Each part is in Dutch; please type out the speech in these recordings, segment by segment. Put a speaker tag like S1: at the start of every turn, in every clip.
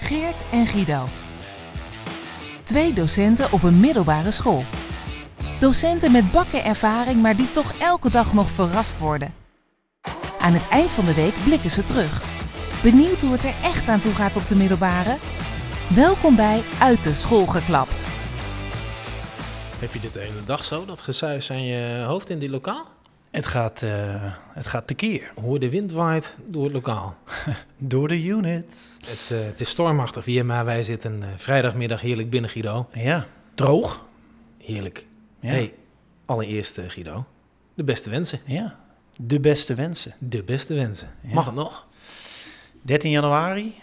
S1: Geert en Guido. Twee docenten op een middelbare school. Docenten met bakken ervaring, maar die toch elke dag nog verrast worden. Aan het eind van de week blikken ze terug. Benieuwd hoe het er echt aan toe gaat op de middelbare? Welkom bij Uit de School geklapt.
S2: Heb je dit de hele dag zo, dat gesuis aan je hoofd in dit lokaal?
S3: Het gaat, eh het gaat tekeer.
S2: Hoe de wind waait door het lokaal.
S3: Door de units.
S2: Het, eh, het is stormachtig hier, maar wij zitten eh, vrijdagmiddag heerlijk binnen, Guido.
S3: Ja, droog.
S2: Heerlijk.
S3: Ja.
S2: hey, allereerst eh, Guido, de beste wensen.
S3: ja. De beste wensen.
S2: De beste wensen.
S3: Ja.
S2: Mag het nog?
S3: 13 januari.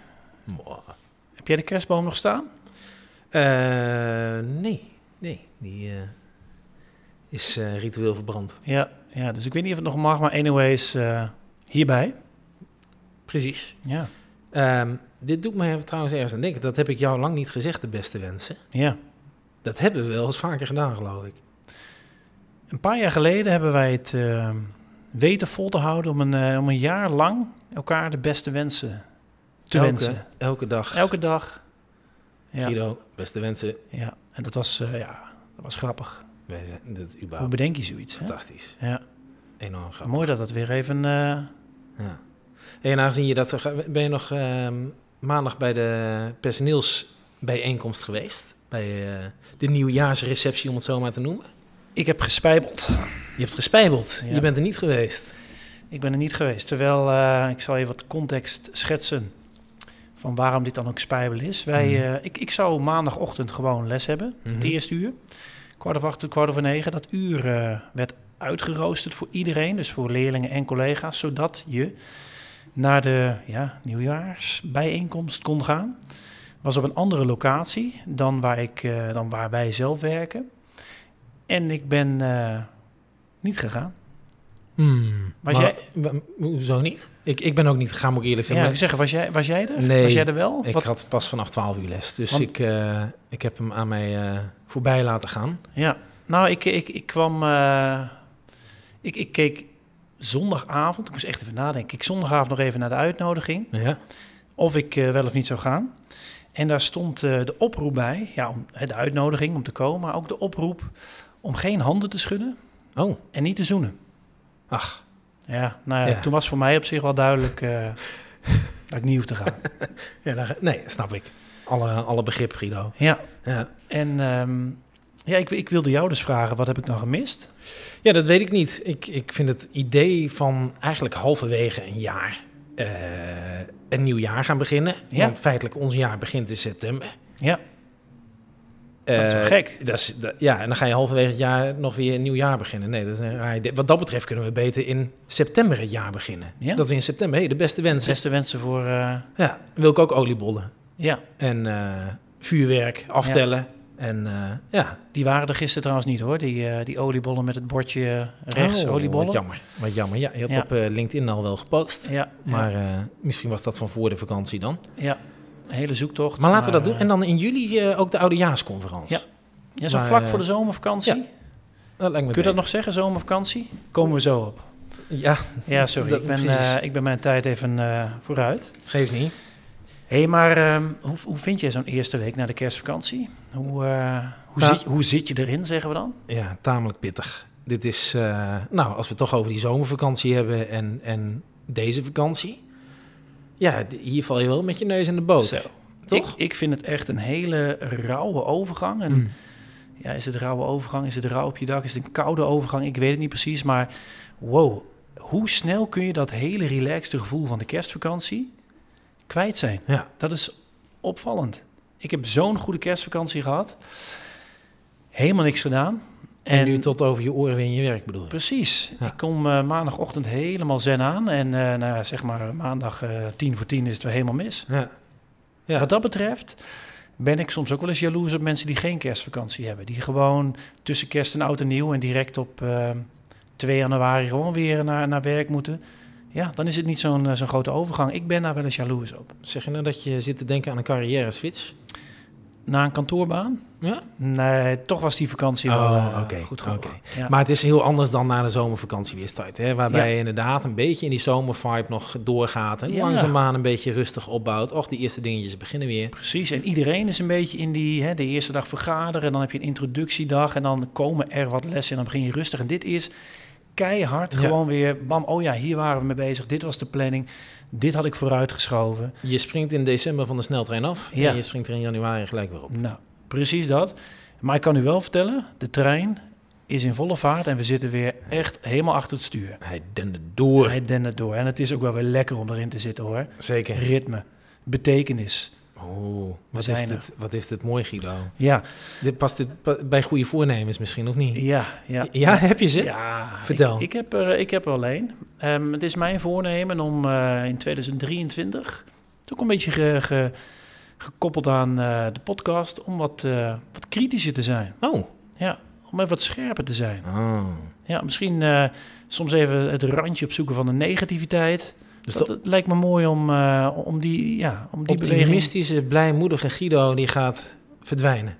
S3: Heb jij de kerstboom nog staan?
S2: Eh, nee, nee. Die eh, is eh, ritueel verbrand.
S3: Ja, ja, dus ik weet niet of het nog mag, maar anyways, eh, hierbij.
S2: Precies.
S3: Ja,
S2: Ehm, dit doet mij trouwens ergens aan denken. Dat heb ik jou lang niet gezegd, de beste wensen.
S3: ja.
S2: Dat hebben we wel eens vaker gedaan, geloof ik.
S3: Een paar jaar geleden hebben wij het eh, weten vol te houden om een, eh, om een jaar lang elkaar de beste wensen te
S2: elke,
S3: wensen.
S2: Elke dag.
S3: Elke dag. Ja,
S2: Guido, beste wensen.
S3: ja. en dat was, eh, ja, dat was grappig.
S2: Wij zijn, dat is
S3: Hoe
S2: überhaupt
S3: bedenk je zoiets? hè?
S2: fantastisch.
S3: Ja,
S2: Enorm grappig.
S3: mooi dat dat weer even... eh,
S2: Ja. Hey, en aangezien je dat zo ga- ben je nog ehm, maandag bij de personeelsbijeenkomst geweest. Bij eh, de nieuwjaarsreceptie, om het zo maar te noemen.
S3: Ik heb gespijbeld.
S2: Je hebt gespijbeld.
S3: Ja.
S2: Je bent er niet geweest.
S3: Ik ben er niet geweest. Terwijl, eh, ik zal even wat context schetsen van waarom dit dan ook spijbel is. Wij,
S2: Mhm.
S3: eh, ik, ik zou maandagochtend gewoon les hebben,
S2: Mhm.
S3: het eerste uur. Kwart over acht tot kwart over negen. Dat uur eh, werd uitgeroosterd voor iedereen, dus voor leerlingen en collega's, zodat je naar de ja, nieuwjaarsbijeenkomst kon gaan. Was op een andere locatie dan waar, ik, eh, dan waar wij zelf werken. En ik ben eh, niet gegaan. Was
S2: Maar-
S3: jij-
S2: wa- Hoezo niet? Ik, ik ben ook niet gegaan, moet ik eerlijk
S3: Ja,
S2: zeggen.
S3: ik zeggen, was jij, was jij er?
S2: Nee,
S3: Was jij er wel?
S2: Maar ik
S3: Wat-
S2: had pas vanaf 12 uur les. Dus
S3: Want-
S2: ik, eh, ik heb hem aan mij eh, voorbij laten gaan.
S3: Ja, nou, ik, ik, ik kwam... eh, ik, ik keek zondagavond, ik moest echt even nadenken. Ik keek zondagavond nog even naar de uitnodiging.
S2: Ja.
S3: Of ik eh, wel of niet zou gaan. En daar stond eh, de oproep bij. Ja, om, hè, de uitnodiging om te komen. Maar ook de oproep om geen handen te schudden
S2: Oh,
S3: en niet te zoenen.
S2: ach.
S3: Ja, nou ja,
S2: Ja.
S3: toen was voor mij op zich wel duidelijk... eh, dat ik niet hoef te gaan.
S2: Ja, daar- nee, snap ik. Alle, alle begrip, Guido.
S3: Ja,
S2: Ja.
S3: en... ehm, ja, ik, ik wilde jou dus vragen, wat heb ik nou gemist?
S2: Ja, dat weet ik niet. Ik, ik vind het idee van eigenlijk halverwege een jaar eh, een nieuw jaar gaan beginnen.
S3: Ja.
S2: Want feitelijk ons jaar begint in september.
S3: Ja, Dat is
S2: Eh,
S3: wel gek.
S2: Dat is, dat- ja, en dan ga je halverwege het jaar nog weer een nieuw jaar beginnen. Nee, dat is een raar idee. Wat dat betreft kunnen we beter in september het jaar beginnen.
S3: Ja.
S2: Dat we in september, hey, de beste wensen.
S3: beste wensen voor... eh,
S2: Ja, wil ik ook oliebollen
S3: ja,
S2: en eh, vuurwerk aftellen. En eh, ja,
S3: Die waren er gisteren trouwens niet hoor, die, eh, die oliebollen met het bordje eh, rechts,
S2: Oh,
S3: oliebollen.
S2: Wat jammer. Wat jammer. Ja, je had
S3: Ja.
S2: op eh, LinkedIn al wel gepost.
S3: Ja,
S2: Maar
S3: maar
S2: eh, misschien was dat van voor de vakantie dan.
S3: ja, een hele zoektocht.
S2: Maar laten we dat doen.
S3: eh,
S2: En dan in juli eh, ook de oudejaarsconferentie.
S3: Ja. ja, zo
S2: maar,
S3: vlak
S2: eh,
S3: voor de zomervakantie.
S2: ja, Dat lijkt me
S3: Kun je dat
S2: beter.
S3: nog zeggen, zomervakantie? Komen we zo op.
S2: Ja,
S3: Ja, sorry,
S2: Dat-
S3: ik, ben,
S2: precies.
S3: eh, ik ben mijn tijd even eh, vooruit.
S2: geeft niet.
S3: Hé, hey, maar ehm, hoe, hoe vind jij zo'n eerste week na de kerstvakantie? Hoe, eh, hoe,
S2: Nou-
S3: zit, hoe zit je erin, zeggen we dan?
S2: Ja, tamelijk pittig. Dit is, eh, nou, als we het toch over die zomervakantie hebben en, en deze vakantie. Ja, d- hier val je wel met je neus in de boot.
S3: Zo.
S2: Oh, Toch? Mhm.
S3: Ik, Mm. ik vind het echt een hele rauwe overgang. En Ja, is het rauwe overgang? Is het rauw op je dak? Is het een koude overgang? Ik weet het niet precies, maar wow. Hoe snel kun je dat hele relaxte gevoel van de kerstvakantie kwijt zijn?
S2: Ja.
S3: Dat is opvallend. Ik heb zo'n goede kerstvakantie gehad. Helemaal niks gedaan.
S2: En, nu tot over je oren in je werk bedoel je?
S3: Precies.
S2: Ja.
S3: Ik kom eh, maandagochtend helemaal zen aan. En eh, nou, ja, zeg maar maandag eh, tien voor tien is het weer helemaal mis.
S2: Ja. Ja.
S3: Wat dat betreft ben ik soms ook wel eens jaloers op mensen die geen kerstvakantie hebben. Die gewoon tussen kerst en oud en nieuw en direct op eh, 2 januari gewoon weer naar, naar werk moeten. Ja, dan is het niet zo'n eh, zo'n grote overgang. Ik ben daar wel eens jaloers op.
S2: Zeg je nou dat je zit te denken aan een carrière switch?
S3: naar een kantoorbaan?
S2: Ja?
S3: Nee, toch was die vakantie
S2: Oh,
S3: wel eh,
S2: oké,
S3: goed geworden.
S2: oké.
S3: Ja.
S2: Maar het is heel anders dan na de zomervakantie weerstijd. Hè? Waarbij je inderdaad een beetje in die zomervibe nog doorgaat. En
S3: Ja.
S2: langzaamaan een beetje rustig opbouwt. Och, die eerste dingetjes beginnen weer.
S3: Precies, en iedereen is een beetje in die, hè, de eerste dag vergaderen, dan heb je een introductiedag en dan komen er wat lessen en dan begin je rustig. En dit is keihard,
S2: Ja.
S3: gewoon weer, bam, oh ja, hier waren we mee bezig, dit was de planning, dit had ik vooruitgeschoven.
S2: Je springt in december van de sneltrein af.
S3: Ja.
S2: En je springt er in januari gelijk weer op.
S3: Nou, precies dat. Maar ik kan u wel vertellen, de trein is in volle vaart en we zitten weer echt helemaal achter het stuur.
S2: Hij dende door.
S3: Hij dendert door en het is ook wel weer lekker om erin te zitten hoor.
S2: Zeker.
S3: Ritme, betekenis,
S2: Oh, wat, is
S3: zijn er.
S2: dit, wat is dit mooi, Guido.
S3: ja,
S2: Dit past dit pa- bij goede voornemens misschien, of niet?
S3: ja, ja.
S2: Ja, heb je ze?
S3: Ja,
S2: Vertel.
S3: Ik, ik, heb er, ik heb er alleen. Ehm, het is mijn voornemen om eh, in 2023, het is ook een beetje ge- ge- gekoppeld aan eh, de podcast, om wat, eh, wat kritischer te zijn.
S2: Oh.
S3: Ja, om even wat scherper te zijn.
S2: Oh.
S3: Ja, misschien eh, soms even het randje opzoeken van de negativiteit.
S2: Dus
S3: dat,
S2: de
S3: het lijkt me mooi om, eh, om die, ja, om die beweging...
S2: optimistische, blijmoedige Guido die gaat verdwijnen.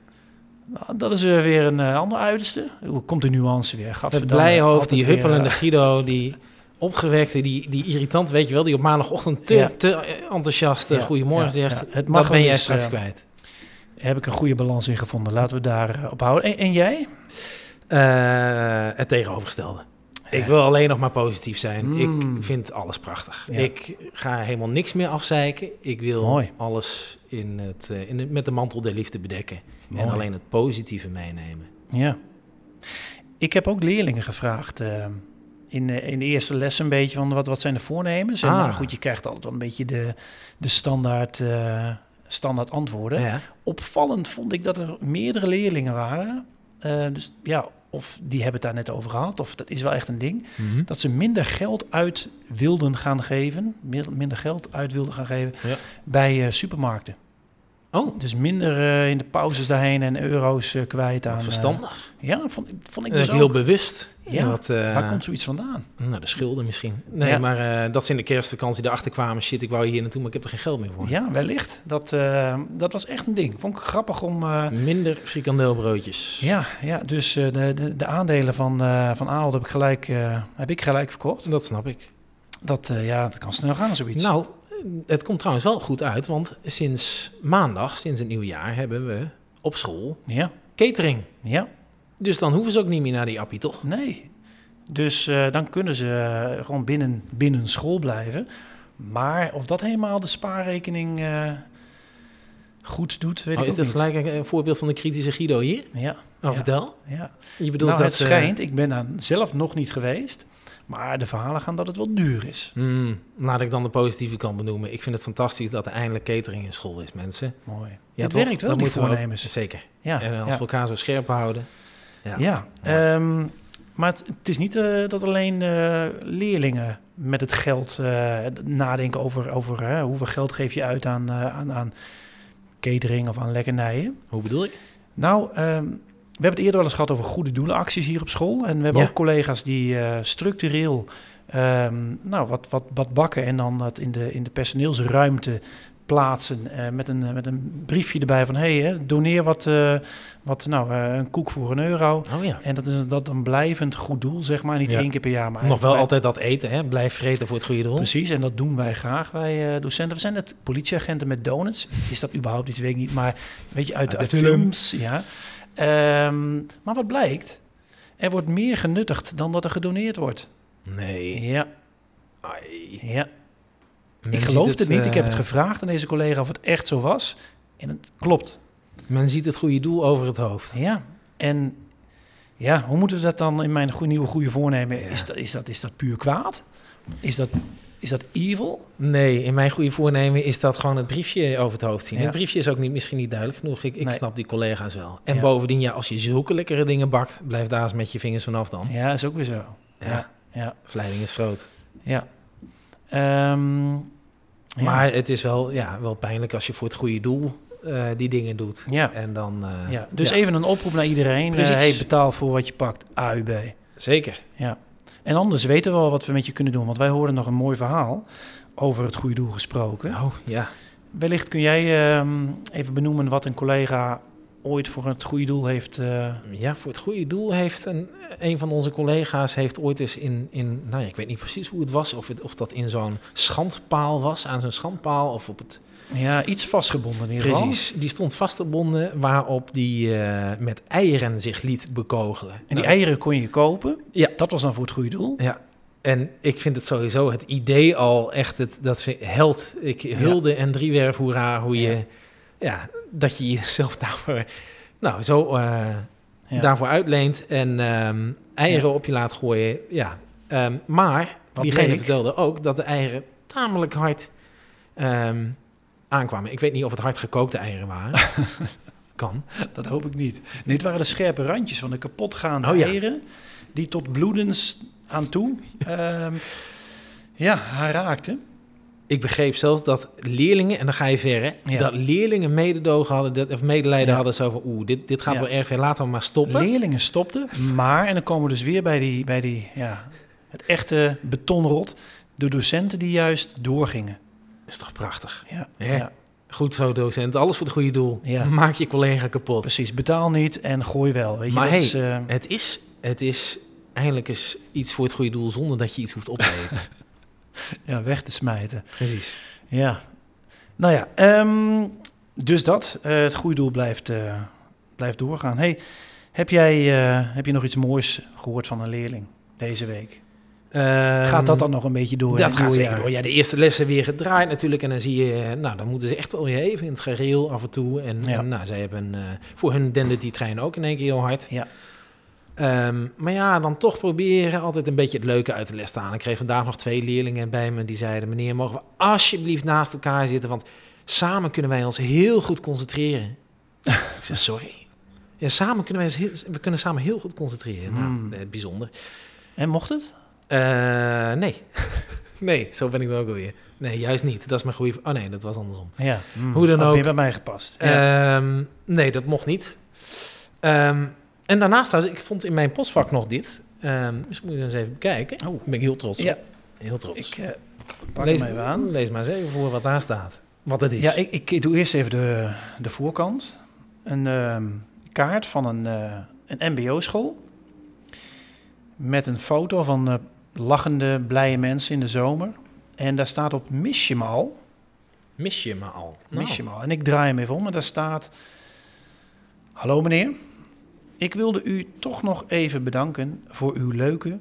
S3: Nou, Dat is eh, weer een eh, ander uiterste. Hoe komt de nuance weer?
S2: Het
S3: Gadverdamme,
S2: blijhoofd,
S3: altijd
S2: die
S3: weer, eh,
S2: huppelende Guido, die opgewekte, die, die irritant, weet je wel, die op maandagochtend te,
S3: Ja.
S2: te enthousiast eh,
S3: Ja,
S2: goedemorgen
S3: ja,
S2: zegt.
S3: ja. Het mag
S2: Dat ben
S3: wel
S2: jij
S3: eens,
S2: straks
S3: eh,
S2: kwijt.
S3: heb ik een goede balans in gevonden. Laten we daar eh, op houden. En, en jij?
S2: Eh, het tegenovergestelde. Ik wil alleen nog maar positief zijn.
S3: Mm.
S2: Ik vind alles prachtig.
S3: Ja.
S2: Ik ga helemaal niks meer afzeiken. Ik wil
S3: Mooi.
S2: alles in het, eh, in de- met de mantel der liefde bedekken.
S3: Mooi.
S2: En alleen het positieve meenemen.
S3: Ja. Ik heb ook leerlingen gevraagd eh, in, de, in de eerste les een beetje van wat, wat zijn de voornemens. En
S2: Ah.
S3: nou goed, je krijgt altijd wel een beetje de, de standaard, eh, standaard antwoorden.
S2: Ja.
S3: Opvallend vond ik dat er meerdere leerlingen waren. Eh, dus ja, of die hebben het daar net over gehad, of dat is wel echt een ding. Dat ze minder geld uit wilden gaan geven, min- minder geld uit wilden gaan geven
S2: Ja.
S3: bij eh, supermarkten.
S2: Oh,
S3: Dus minder eh, in de pauzes daarheen en euro's eh, kwijt aan...
S2: wat
S3: eh,
S2: verstandig.
S3: ja, vond, ik- vond ik
S2: En
S3: dus
S2: ook heel
S3: ook.
S2: bewust.
S3: Ja,
S2: En wat, eh,
S3: Waar komt zoiets vandaan?
S2: Nou, de schulden misschien. Nee,
S3: Ja.
S2: maar eh, dat ze in de kerstvakantie erachter kwamen. Shit, ik wou hier naartoe, maar ik heb er geen geld meer voor.
S3: Ja, wellicht. Dat, eh, dat was echt een ding. Vond ik grappig om... eh,
S2: Minder frikandelbroodjes.
S3: ja, ja, dus eh, de, de, de aandelen van, eh van Ahold heb ik gelijk, eh, heb ik gelijk verkocht.
S2: Dat snap ik.
S3: Dat, eh, ja, dat kan snel gaan, zoiets.
S2: Nou, het komt trouwens wel goed uit, want sinds maandag, sinds het nieuwe jaar, hebben we op school
S3: Ja,
S2: catering.
S3: ja,
S2: Dus dan hoeven ze ook niet meer naar die appie, toch?
S3: nee. Dus eh, dan kunnen ze eh, gewoon binnen, binnen school blijven. Maar of dat helemaal de spaarrekening eh, goed doet, weet
S2: Oh,
S3: ik
S2: is
S3: ook
S2: dit
S3: niet.
S2: gelijk een, een voorbeeld van de kritische Guido hier?
S3: Ja,
S2: Nou,
S3: Ja.
S2: vertel.
S3: ja.
S2: Je bedoelt
S3: nou,
S2: dat eh,
S3: het
S2: ze-
S3: schijnt, ik ben daar zelf nog niet geweest, maar de verhalen gaan dat het wel duur is.
S2: Hmm, laat ik dan de positieve kant benoemen. Ik vind het fantastisch dat er eindelijk catering in school is, mensen.
S3: Mooi.
S2: Ja,
S3: Dit
S2: toch?
S3: werkt wel,
S2: Dat
S3: die
S2: moeten we ook-
S3: voornemens.
S2: zeker.
S3: Ja,
S2: en als we
S3: ja.
S2: elkaar zo scherp houden.
S3: ja.
S2: Ja.
S3: ehm, maar het, het is niet eh, dat alleen eh, leerlingen met het geld eh, het nadenken over, over hè, hoeveel geld geef je uit aan, eh, aan, aan catering of aan lekkernijen.
S2: Hoe bedoel ik?
S3: Nou, ehm, we hebben het eerder wel eens gehad over goede doelenacties hier op school. En we hebben
S2: Ja.
S3: ook collega's die eh, structureel ehm, nou, wat, wat, wat bakken en dan dat in de, in de personeelsruimte plaatsen. eh, met, een, eh, met een briefje erbij van, hé, hey, doneer wat, eh, wat nou, eh, een koek voor een euro.
S2: Oh ja.
S3: En dat is dat een blijvend goed doel, zeg maar. Niet
S2: Ja.
S3: één keer per jaar, maar...
S2: Nog wel
S3: eigenlijk
S2: altijd dat eten, hè? Blijf vreten voor het goede doel.
S3: bij- Precies, en dat doen wij graag, wij eh, docenten. We zijn net politieagenten met donuts. Is dat überhaupt iets, weet ik niet. Maar weet je, uit,
S2: Uit
S3: de,
S2: de
S3: uit films, ja. Ehm, maar wat blijkt? Er wordt meer genuttigd dan dat er gedoneerd wordt.
S2: Nee.
S3: Ja,
S2: Ai.
S3: ja.
S2: Men
S3: Ik
S2: ziet
S3: geloof het, niet. Ik
S2: eh,
S3: heb het gevraagd aan deze collega of het echt zo was. En het klopt.
S2: Men ziet het goede doel over het hoofd.
S3: Ja. En ja, hoe moeten we dat dan in mijn goe- nieuwe goede voornemen?
S2: Ja.
S3: Is, dat, is, dat, is dat puur kwaad? Is dat, is dat evil?
S2: Nee, in mijn goede voornemen is dat gewoon het briefje over het hoofd zien.
S3: Ja.
S2: Het briefje is ook niet, misschien niet duidelijk genoeg. Ik, ik
S3: Nee.
S2: snap die collega's wel. En
S3: Ja.
S2: bovendien, ja, als je zulke lekkere dingen bakt, blijf daar eens met je vingers vanaf dan.
S3: Ja, is ook weer zo. Ja, ja,
S2: Verleiding is groot.
S3: ja. Ehm, ja.
S2: Maar het is wel, ja, wel pijnlijk als je voor het goede doel eh, die dingen doet.
S3: Ja.
S2: En dan, eh,
S3: ja. Dus
S2: ja,
S3: even een oproep naar iedereen. eh,
S2: Precies.
S3: hey, betaal voor wat je pakt. AUB.
S2: Zeker.
S3: Ja. En anders weten we wel wat we met je kunnen doen. Want wij horen nog een mooi verhaal over het goede doel gesproken.
S2: Oh, ja.
S3: Wellicht kun jij ehm, even benoemen wat een collega ooit voor het goede doel heeft. eh,
S2: Ja, voor het goede doel heeft een, een van onze collega's heeft ooit eens in, in nou ja, ik weet niet precies hoe het was, of, het, of dat in zo'n schandpaal was, aan zo'n schandpaal of op het...
S3: ja, iets vastgebonden in ieder geval.
S2: Precies, die stond vastgebonden waarop die eh, met eieren zich liet bekogelen.
S3: En die
S2: Nou,
S3: eieren kon je kopen.
S2: Ja.
S3: Dat was dan voor het goede doel.
S2: Ja, en ik vind het sowieso het idee al echt, het, dat vind, held, ik hulde en driewerf hoera, hoe je,
S3: Ja.
S2: ja. dat je jezelf daarvoor, nou zo... eh,
S3: Ja.
S2: daarvoor uitleent en ehm, eieren op je laat gooien. Ja. Ehm, maar
S3: Wat
S2: diegene
S3: bleek?
S2: vertelde ook dat de eieren tamelijk hard ehm, aankwamen. Ik weet niet of het hard gekookte eieren waren. kan.
S3: Dat hoop ik niet. Dit waren de scherpe randjes van de kapotgaande
S2: Oh ja.
S3: eieren. Die tot bloedens aan toe ehm, ja, haar raakten.
S2: Ik begreep zelfs dat leerlingen, en dan ga je ver, hè,
S3: Ja.
S2: dat leerlingen mededogen hadden, dat, of medelijden
S3: Ja.
S2: hadden zo van, oeh, dit, dit gaat
S3: Ja.
S2: wel erg ver, laten we maar stoppen.
S3: Leerlingen stopten. Maar, en dan komen we dus weer bij, die, bij die, ja, het echte betonrot. De docenten die juist doorgingen.
S2: is toch prachtig.
S3: Ja,
S2: Ja. Goed zo, docent. Alles voor het goede doel.
S3: Ja.
S2: Maak je collega kapot.
S3: precies. Betaal niet en gooi wel. Weet je,
S2: Maar
S3: dat
S2: hey,
S3: is, eh,
S2: Het is, het is eindelijk eens iets voor het goede doel zonder dat je iets hoeft op te eten.
S3: ja, weg te smijten.
S2: Precies.
S3: Ja. Nou ja, ehm, dus dat. Eh, het goede doel blijft, eh, blijft doorgaan. Hey, heb, jij, eh, heb je nog iets moois gehoord van een leerling deze week? gaat dat dan nog een beetje door? in
S2: Ehm, Dat
S3: het
S2: gaat
S3: nieuwe
S2: zeker door.
S3: jaar?
S2: Ja, de eerste lessen weer gedraaid natuurlijk. En dan zie je, eh, nou, dan moeten ze echt wel weer even in het gereel af en toe. En,
S3: Ja.
S2: en, nou, zij hebben eh, voor hun dende die trein ook in één keer heel hard.
S3: Ja.
S2: Ehm, maar ja, dan toch proberen altijd een beetje het leuke uit de les te halen. Ik kreeg vandaag nog twee leerlingen bij me die zeiden... meneer, mogen we alsjeblieft naast elkaar zitten? Want samen kunnen wij ons heel goed concentreren. ik zeg, sorry? Ja, samen kunnen wij ons heel, we kunnen samen heel goed concentreren.
S3: Hmm.
S2: Nou, eh, bijzonder.
S3: En mocht het?
S2: Eh, nee. nee, zo ben ik dan ook alweer. Nee, juist niet. Dat is mijn goede... v- Oh nee, dat was andersom.
S3: Ja. Mm,
S2: Hoe dan
S3: had
S2: ook.
S3: meer bij mij gepast. Ja.
S2: Ehm, nee, dat mocht niet. Ehm, en daarnaast, trouwens, ik vond in mijn postvak nog dit. Ehm dus moet je eens even bekijken.
S3: Oh.
S2: ben ik heel trots op.
S3: Ja.
S2: Heel trots.
S3: Ik eh, pak
S2: lees,
S3: hem even aan.
S2: lees maar eens even voor wat daar staat. Wat het is.
S3: Ja, ik, ik doe eerst even de, de voorkant. Een ehm, kaart van een, eh, een mbo-school. Met een foto van eh, lachende, blije mensen in de zomer. En daar staat op mis je me al.
S2: Mis je me al. Nou,
S3: Mis je me al. En ik draai hem even om en daar staat... Hallo meneer. Ik wilde u toch nog even bedanken voor uw leuke,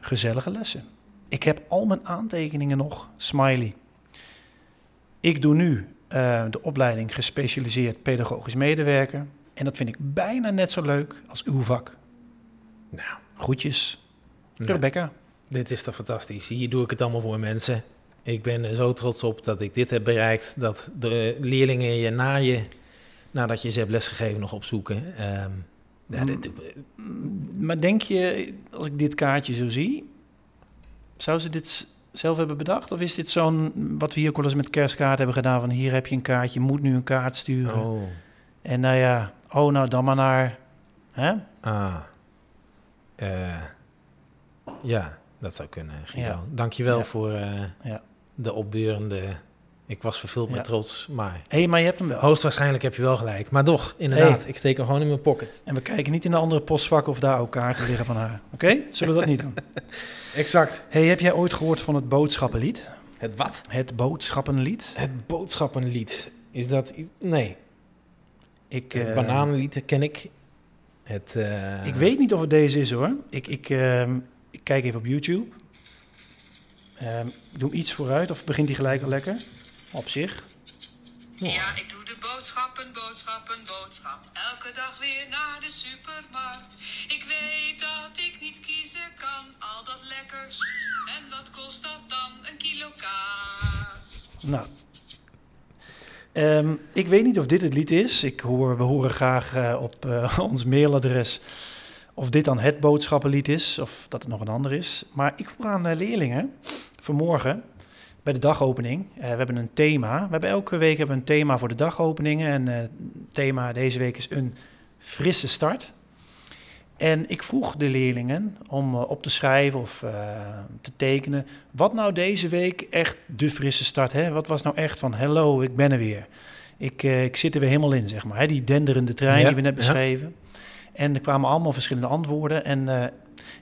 S3: gezellige lessen. Ik heb al mijn aantekeningen nog, smiley. Ik doe nu eh, de opleiding gespecialiseerd pedagogisch medewerker. En dat vind ik bijna net zo leuk als uw vak.
S2: Nou,
S3: Groetjes,
S2: nou,
S3: Rebecca.
S2: dit is toch fantastisch. Hier doe ik het allemaal voor mensen. Ik ben er zo trots op dat ik dit heb bereikt. Dat de leerlingen je na je, nadat je ze hebt lesgegeven, nog opzoeken. Ehm, ja, dit,
S3: Mm, Maar denk je, als ik dit kaartje zo zie, zou ze dit s- zelf hebben bedacht? Of is dit zo'n, wat we hier ook wel eens met kerstkaart hebben gedaan, van hier heb je een kaartje, je moet nu een kaart sturen.
S2: oh,
S3: En nou ja, oh nou dan maar naar, hè?
S2: ah. Eh, ja, dat zou kunnen, Guido.
S3: Ja.
S2: Dankjewel
S3: Ja.
S2: voor eh,
S3: Ja.
S2: de opbeurende... Ik was vervuld
S3: Ja.
S2: met trots, maar...
S3: Hé, maar je hebt
S2: Oh.
S3: hem wel.
S2: Hoogstwaarschijnlijk heb je wel gelijk. Maar toch, inderdaad,
S3: Hey.
S2: ik steek hem gewoon in mijn pocket.
S3: En we kijken niet in de andere postvak of daar ook kaarten liggen van haar. Oké? Zullen we dat niet doen?
S2: Exact.
S3: Hé, hey, heb jij ooit gehoord van het boodschappenlied?
S2: Het wat?
S3: Het boodschappenlied?
S2: Het boodschappenlied. Is dat... i- Nee,
S3: Ik,
S2: het
S3: eh,
S2: bananenlied ken ik. Het... eh,
S3: Ik weet niet of het deze is hoor. Ik, ik, ehm, ik kijk even op YouTube. Ehm, ik doe hem iets vooruit of begint die gelijk al lekker? Op zich.
S4: Ja, ik doe de boodschappen, boodschappen, boodschap. Elke dag weer naar de supermarkt. Ik weet dat ik niet kiezen kan, al dat lekkers. En wat kost dat dan? Een kilo kaas.
S3: Nou. Ehm, ik weet niet of dit het lied is. Ik hoor, we horen graag eh, op eh, ons mailadres of dit dan het boodschappenlied is of dat het nog een ander is. Maar ik vroeg aan de leerlingen vanmorgen bij de dagopening. eh, we hebben een thema. We hebben elke week hebben we een thema voor de dagopeningen. En eh, het thema deze week is een frisse start. En ik vroeg de leerlingen om eh, op te schrijven of eh, te tekenen. Wat nou deze week echt de frisse start? Hè? Wat was nou echt van hello, ik ben er weer. Ik, eh, ik zit er weer helemaal in, zeg maar. Hè? Die denderende trein
S2: Ja,
S3: die we net
S2: ja.
S3: beschreven. En er kwamen allemaal verschillende antwoorden. En eh,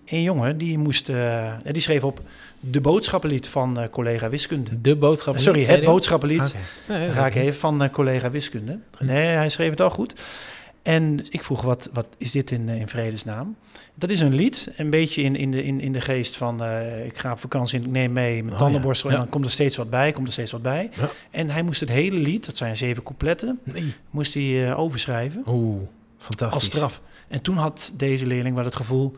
S3: een jongen die, moest, eh, die schreef op de boodschappenlied van eh, collega wiskunde.
S2: De boodschap.
S3: Sorry, het boodschappenlied.
S2: Nee,
S3: Dan
S2: dat
S3: ga
S2: is
S3: ik
S2: oké.
S3: even van eh, collega wiskunde.
S2: Hm.
S3: Nee, hij schreef het al goed. En ik vroeg, wat, wat is dit in, eh, in vredesnaam? Dat is een lied, een beetje in, in, de, in, in de geest van... eh, ik ga op vakantie en ik neem mee mijn
S2: Oh,
S3: tandenborstel...
S2: ja.
S3: en dan komt er steeds wat bij, komt er steeds wat bij.
S2: Ja.
S3: En hij moest het hele lied, dat zijn zeven coupletten...
S2: Nee.
S3: moest hij eh, overschrijven
S2: Oeh, fantastisch.
S3: als straf. En toen had deze leerling wel het gevoel...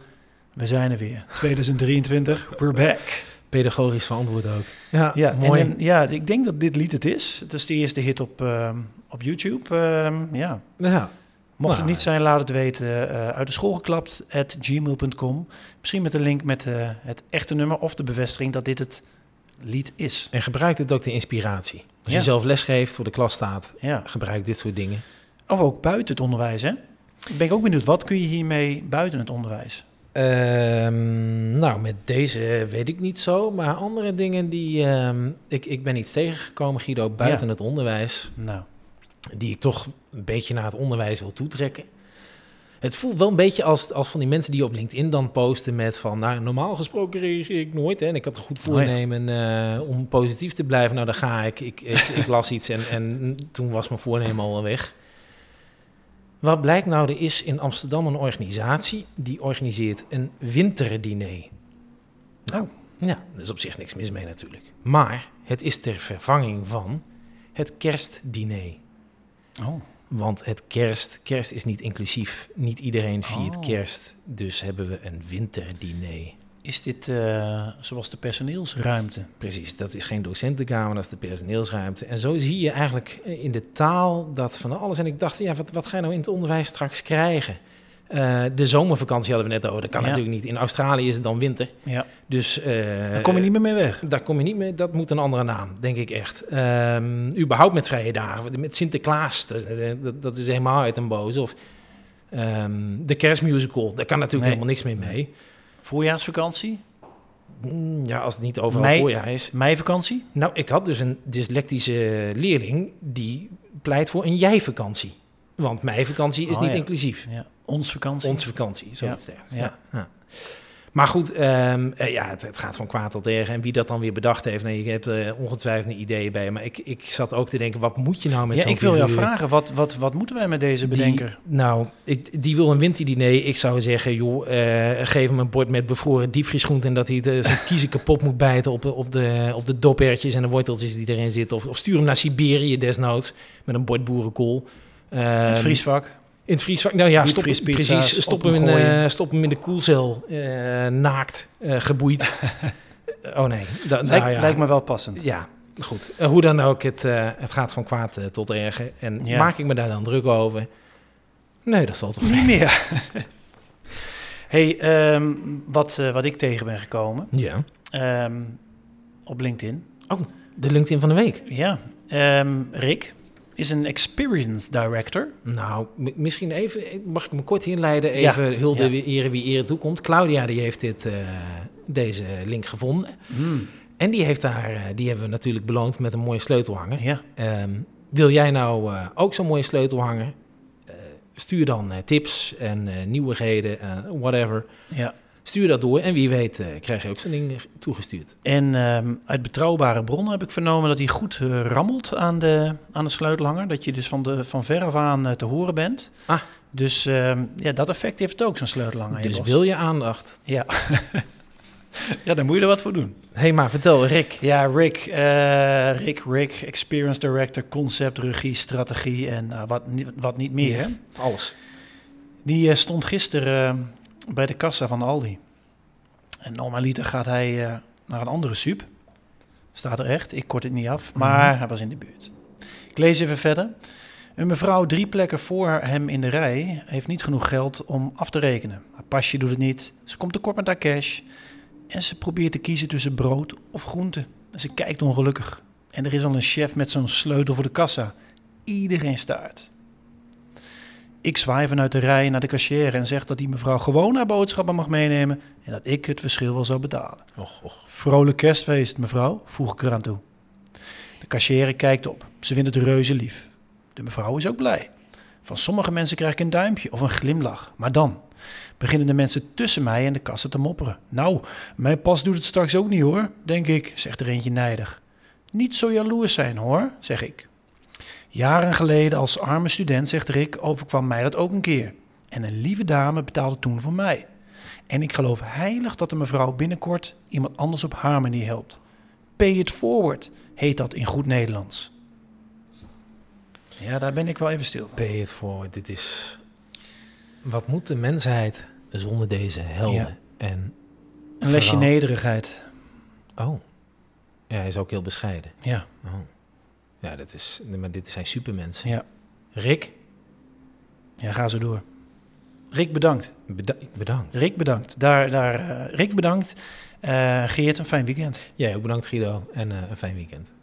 S3: we zijn er weer, 2023, we're back.
S2: Pedagogisch verantwoord ook. Ja,
S3: Ja,
S2: mooi.
S3: En, en- ja, ik denk dat dit lied het is. Het is de eerste hit op, ehm, op YouTube. Ehm, ja.
S2: ja.
S3: Mocht
S2: Nou,
S3: het niet zijn, laat het weten. eh, uit de school geklapt at gmail.com. Misschien met een link met eh, het echte nummer of de bevestiging dat dit het lied is.
S2: En gebruik dit ook de inspiratie. Als
S3: Ja.
S2: je zelf lesgeeft, voor de klas staat,
S3: Ja.
S2: gebruik dit soort dingen.
S3: Of ook buiten het onderwijs, hè? Ben ik ook benieuwd, wat kun je hiermee buiten het onderwijs?
S2: Ehm, nou, met deze weet ik niet zo. Maar andere dingen die... ehm, ik, ik ben iets tegengekomen, Guido, buiten het onderwijs.
S3: Nou,
S2: Die ik toch een beetje naar het onderwijs wil toetrekken. Het voelt wel een beetje als, als van die mensen die op LinkedIn dan posten met van... Nou, normaal gesproken reageer ik nooit. Hè, en ik had een goed
S3: Oh ja.
S2: voornemen eh, om positief te blijven. Nou, daar ga ik. Ik, ik, ik las iets en, en toen was mijn voornemen al wel weg. Wat blijkt nou, er is in Amsterdam een organisatie... die organiseert een winterdiner.
S3: nou
S2: Ja, er is op zich niks mis mee natuurlijk. Maar het is ter vervanging van het kerstdiner.
S3: oh.
S2: Want het kerst, kerst is niet inclusief. Niet iedereen viert
S3: Oh.
S2: kerst. Dus hebben we een winterdiner.
S3: is dit eh, zoals de personeelsruimte?
S2: Precies, dat is geen docentenkamer, dat is de personeelsruimte. En zo zie je eigenlijk eh, in de taal dat van alles. En ik dacht, ja, wat, wat ga je nou in het onderwijs straks krijgen? Eh, de zomervakantie hadden we net over. Dat kan
S3: Ja.
S2: natuurlijk niet. In Australië is het dan winter.
S3: Ja,
S2: Dus, eh,
S3: daar kom je niet meer mee weg.
S2: Daar kom je niet mee. Dat moet een andere naam, denk ik echt. Ehm, überhaupt met vrije dagen. Met Sinterklaas, dat, is- dat, dat is helemaal uit en boze. Of ehm, de kerstmusical, daar kan natuurlijk
S3: Nee.
S2: helemaal niks meer mee.
S3: Voorjaarsvakantie?
S2: Mm, Ja, als het niet overal
S3: Mei-
S2: voorjaar is.
S3: Meivakantie?
S2: Nou, ik had dus een dyslectische leerling die pleit voor een jij-vakantie. Want mijn vakantie is
S3: Oh,
S2: niet
S3: ja.
S2: inclusief.
S3: Ja, ons vakantie.
S2: Onze vakantie, zoiets
S3: Ja,
S2: dergelijks.
S3: ja.
S2: Ja. ja. Maar goed, ehm, eh, ja, het, het gaat van kwaad tot erg. En wie dat dan weer bedacht heeft, nou, je hebt eh, ongetwijfeld een idee bij. Maar ik, ik zat ook te denken, wat moet je nou met
S3: ja,
S2: zo'n
S3: ik wil jou
S2: figuur?
S3: vragen, wat, wat, wat moeten wij met deze
S2: Die-
S3: bedenker?
S2: nou, ik, die wil een winterdiner. Ik zou zeggen, joh, eh, geef hem een bord met bevroren diepvriesgroenten... en dat hij het, eh, zijn kiezen kapot moet bijten op, op, de, op de dopertjes en de worteltjes die erin zitten. Of, of stuur hem naar Siberië desnoods met een bord boerenkool.
S3: het
S2: Ehm,
S3: vriesvak?
S2: in het vriesvak, nou ja, stop,
S3: Diepvriespizza's,
S2: precies, stop, hem in,
S3: opengooien.
S2: eh, stop hem in de koelcel, eh, naakt, eh, geboeid. oh nee, da-
S3: lijkt,
S2: nou ja.
S3: lijkt me wel passend.
S2: Ja, goed. Eh, hoe dan ook, het, eh, het gaat van kwaad eh, tot erger. En
S3: Ja.
S2: maak ik me daar dan druk over? Nee, dat zal toch...
S3: Niet meer. hey, ehm, wat, eh, wat ik tegen ben gekomen
S2: Ja,
S3: ehm, op LinkedIn.
S2: de LinkedIn van de week.
S3: Ja, ehm, Rick is een experience director.
S2: Nou, m- misschien even, eh, mag ik me kort inleiden?
S3: Ja,
S2: Even hulde
S3: ja.
S2: wie ere wie ere toekomt. Claudia die heeft dit, eh, deze link gevonden. En die, heeft daar, eh, die hebben we natuurlijk beloond met een mooie sleutelhanger.
S3: Ja,
S2: Ehm, wil jij nou eh, ook zo'n mooie sleutelhanger? Eh, stuur dan eh, tips en eh, nieuwigheden, eh, whatever.
S3: ja.
S2: Stuur dat door en wie weet eh, krijg je ook zo'n ding eh, toegestuurd.
S3: En ehm, uit betrouwbare bronnen heb ik vernomen dat hij goed eh, rammelt aan de, aan de sleutelhanger. Dat je dus van, de, van ver af aan eh, te horen bent.
S2: Ah.
S3: Dus ehm, ja, dat effect heeft het ook, zo'n sleutelhanger.
S2: dus
S3: Jos.
S2: wil je aandacht?
S3: Ja. ja, dan moet je er wat voor doen.
S2: Hé, hey, maar vertel Oh, Rick.
S3: Ja, Rick, eh, Rick, Rick, Experience Director, Concept, Regie, Strategie en nou, wat, ni- wat niet meer. Hè?
S2: Alles.
S3: Die eh, stond gisteren eh, bij de kassa van Aldi. En normaliter gaat hij eh, naar een andere sup. Staat er echt, ik kort het niet af, maar hij was in de buurt. Ik lees even verder. Een mevrouw drie plekken voor hem in de rij heeft niet genoeg geld om af te rekenen. Haar pasje doet het niet, ze komt tekort met haar cash. En ze probeert te kiezen tussen brood of groente. En ze kijkt ongelukkig. En er is al een chef met zo'n sleutel voor de kassa. Iedereen staart. Ik zwaai vanuit de rij naar de cashier en zeg dat die mevrouw gewoon haar boodschappen mag meenemen en dat ik het verschil wel zou betalen.
S2: Och, och.
S3: Vrolijk kerstfeest, mevrouw, voeg ik eraan toe. De cashier kijkt op. Ze vindt het reuze lief. De mevrouw is ook blij. Van sommige mensen krijg ik een duimpje of een glimlach. Maar dan beginnen de mensen tussen mij en de kassen te mopperen. Nou, mijn pas doet het straks ook niet hoor, denk ik, zegt er eentje nijdig. Niet zo jaloers zijn hoor, zeg ik. Jaren geleden als arme student, zegt Rick, overkwam mij dat ook een keer. En een lieve dame betaalde toen voor mij. En ik geloof heilig dat de mevrouw binnenkort iemand anders op haar manier helpt. Pay it forward, heet dat in goed Nederlands. Ja, daar ben ik wel even stil. van.
S2: Pay it forward. Dit is... Wat moet de mensheid zonder deze helden? En...
S3: Een lesje
S2: Vooral-
S3: nederigheid.
S2: Oh. Ja, hij is ook heel bescheiden.
S3: Ja,
S2: Oh. Ja, dat is... Maar dit zijn supermensen.
S3: ja.
S2: Rick,
S3: ja ga zo door. Rick, bedankt.
S2: beda- bedankt.
S3: Rick, bedankt. Daar, daar, eh, Rick, bedankt. Eh, Geert, een fijn weekend.
S2: Jij ook bedankt, Guido. En eh, een fijn weekend.